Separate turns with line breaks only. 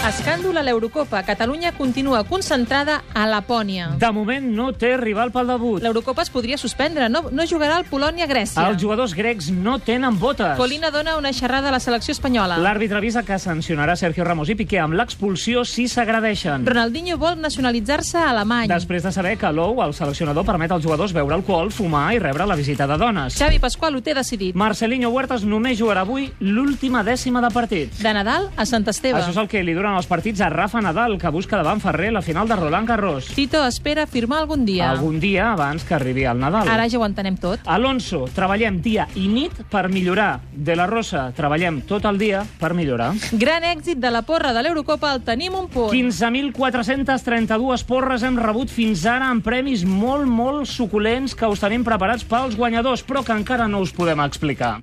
Escàndol a l'Eurocopa. Catalunya continua concentrada a Lapònia.
De moment no té rival pel debut.
L'Eurocopa es podria suspendre. No, no jugarà el Polònia-Grècia.
Els jugadors grecs no tenen botes.
Colina dona una xerrada a la selecció espanyola.
L'àrbitre avisa que sancionarà Sergio Ramos i Piqué amb l'expulsió si s'agradeixen.
Ronaldinho vol nacionalitzar-se a Alemany.
Després de saber que l'OU, el seleccionador, permet als jugadors beure alcohol, fumar i rebre la visita de dones.
Xavi Pasqual ho té decidit.
Marcelinho Huertas només jugarà avui l'última dècima de partit.
De Nadal a Sant Esteve.
Això és el que li duren els partits a Rafa Nadal, que busca davant Ferrer la final de Roland Garros.
Tito espera firmar algun dia.
Algun dia abans que arribi el Nadal.
Ara ja ho entenem tot.
Alonso, treballem dia i nit per millorar. De la Rosa, treballem tot el dia per millorar.
Gran èxit de la porra de l'Eurocopa el tenim un punt.
15.432 porres hem rebut fins ara amb premis molt, molt suculents que us tenim preparats pels guanyadors, però que encara no us podem explicar.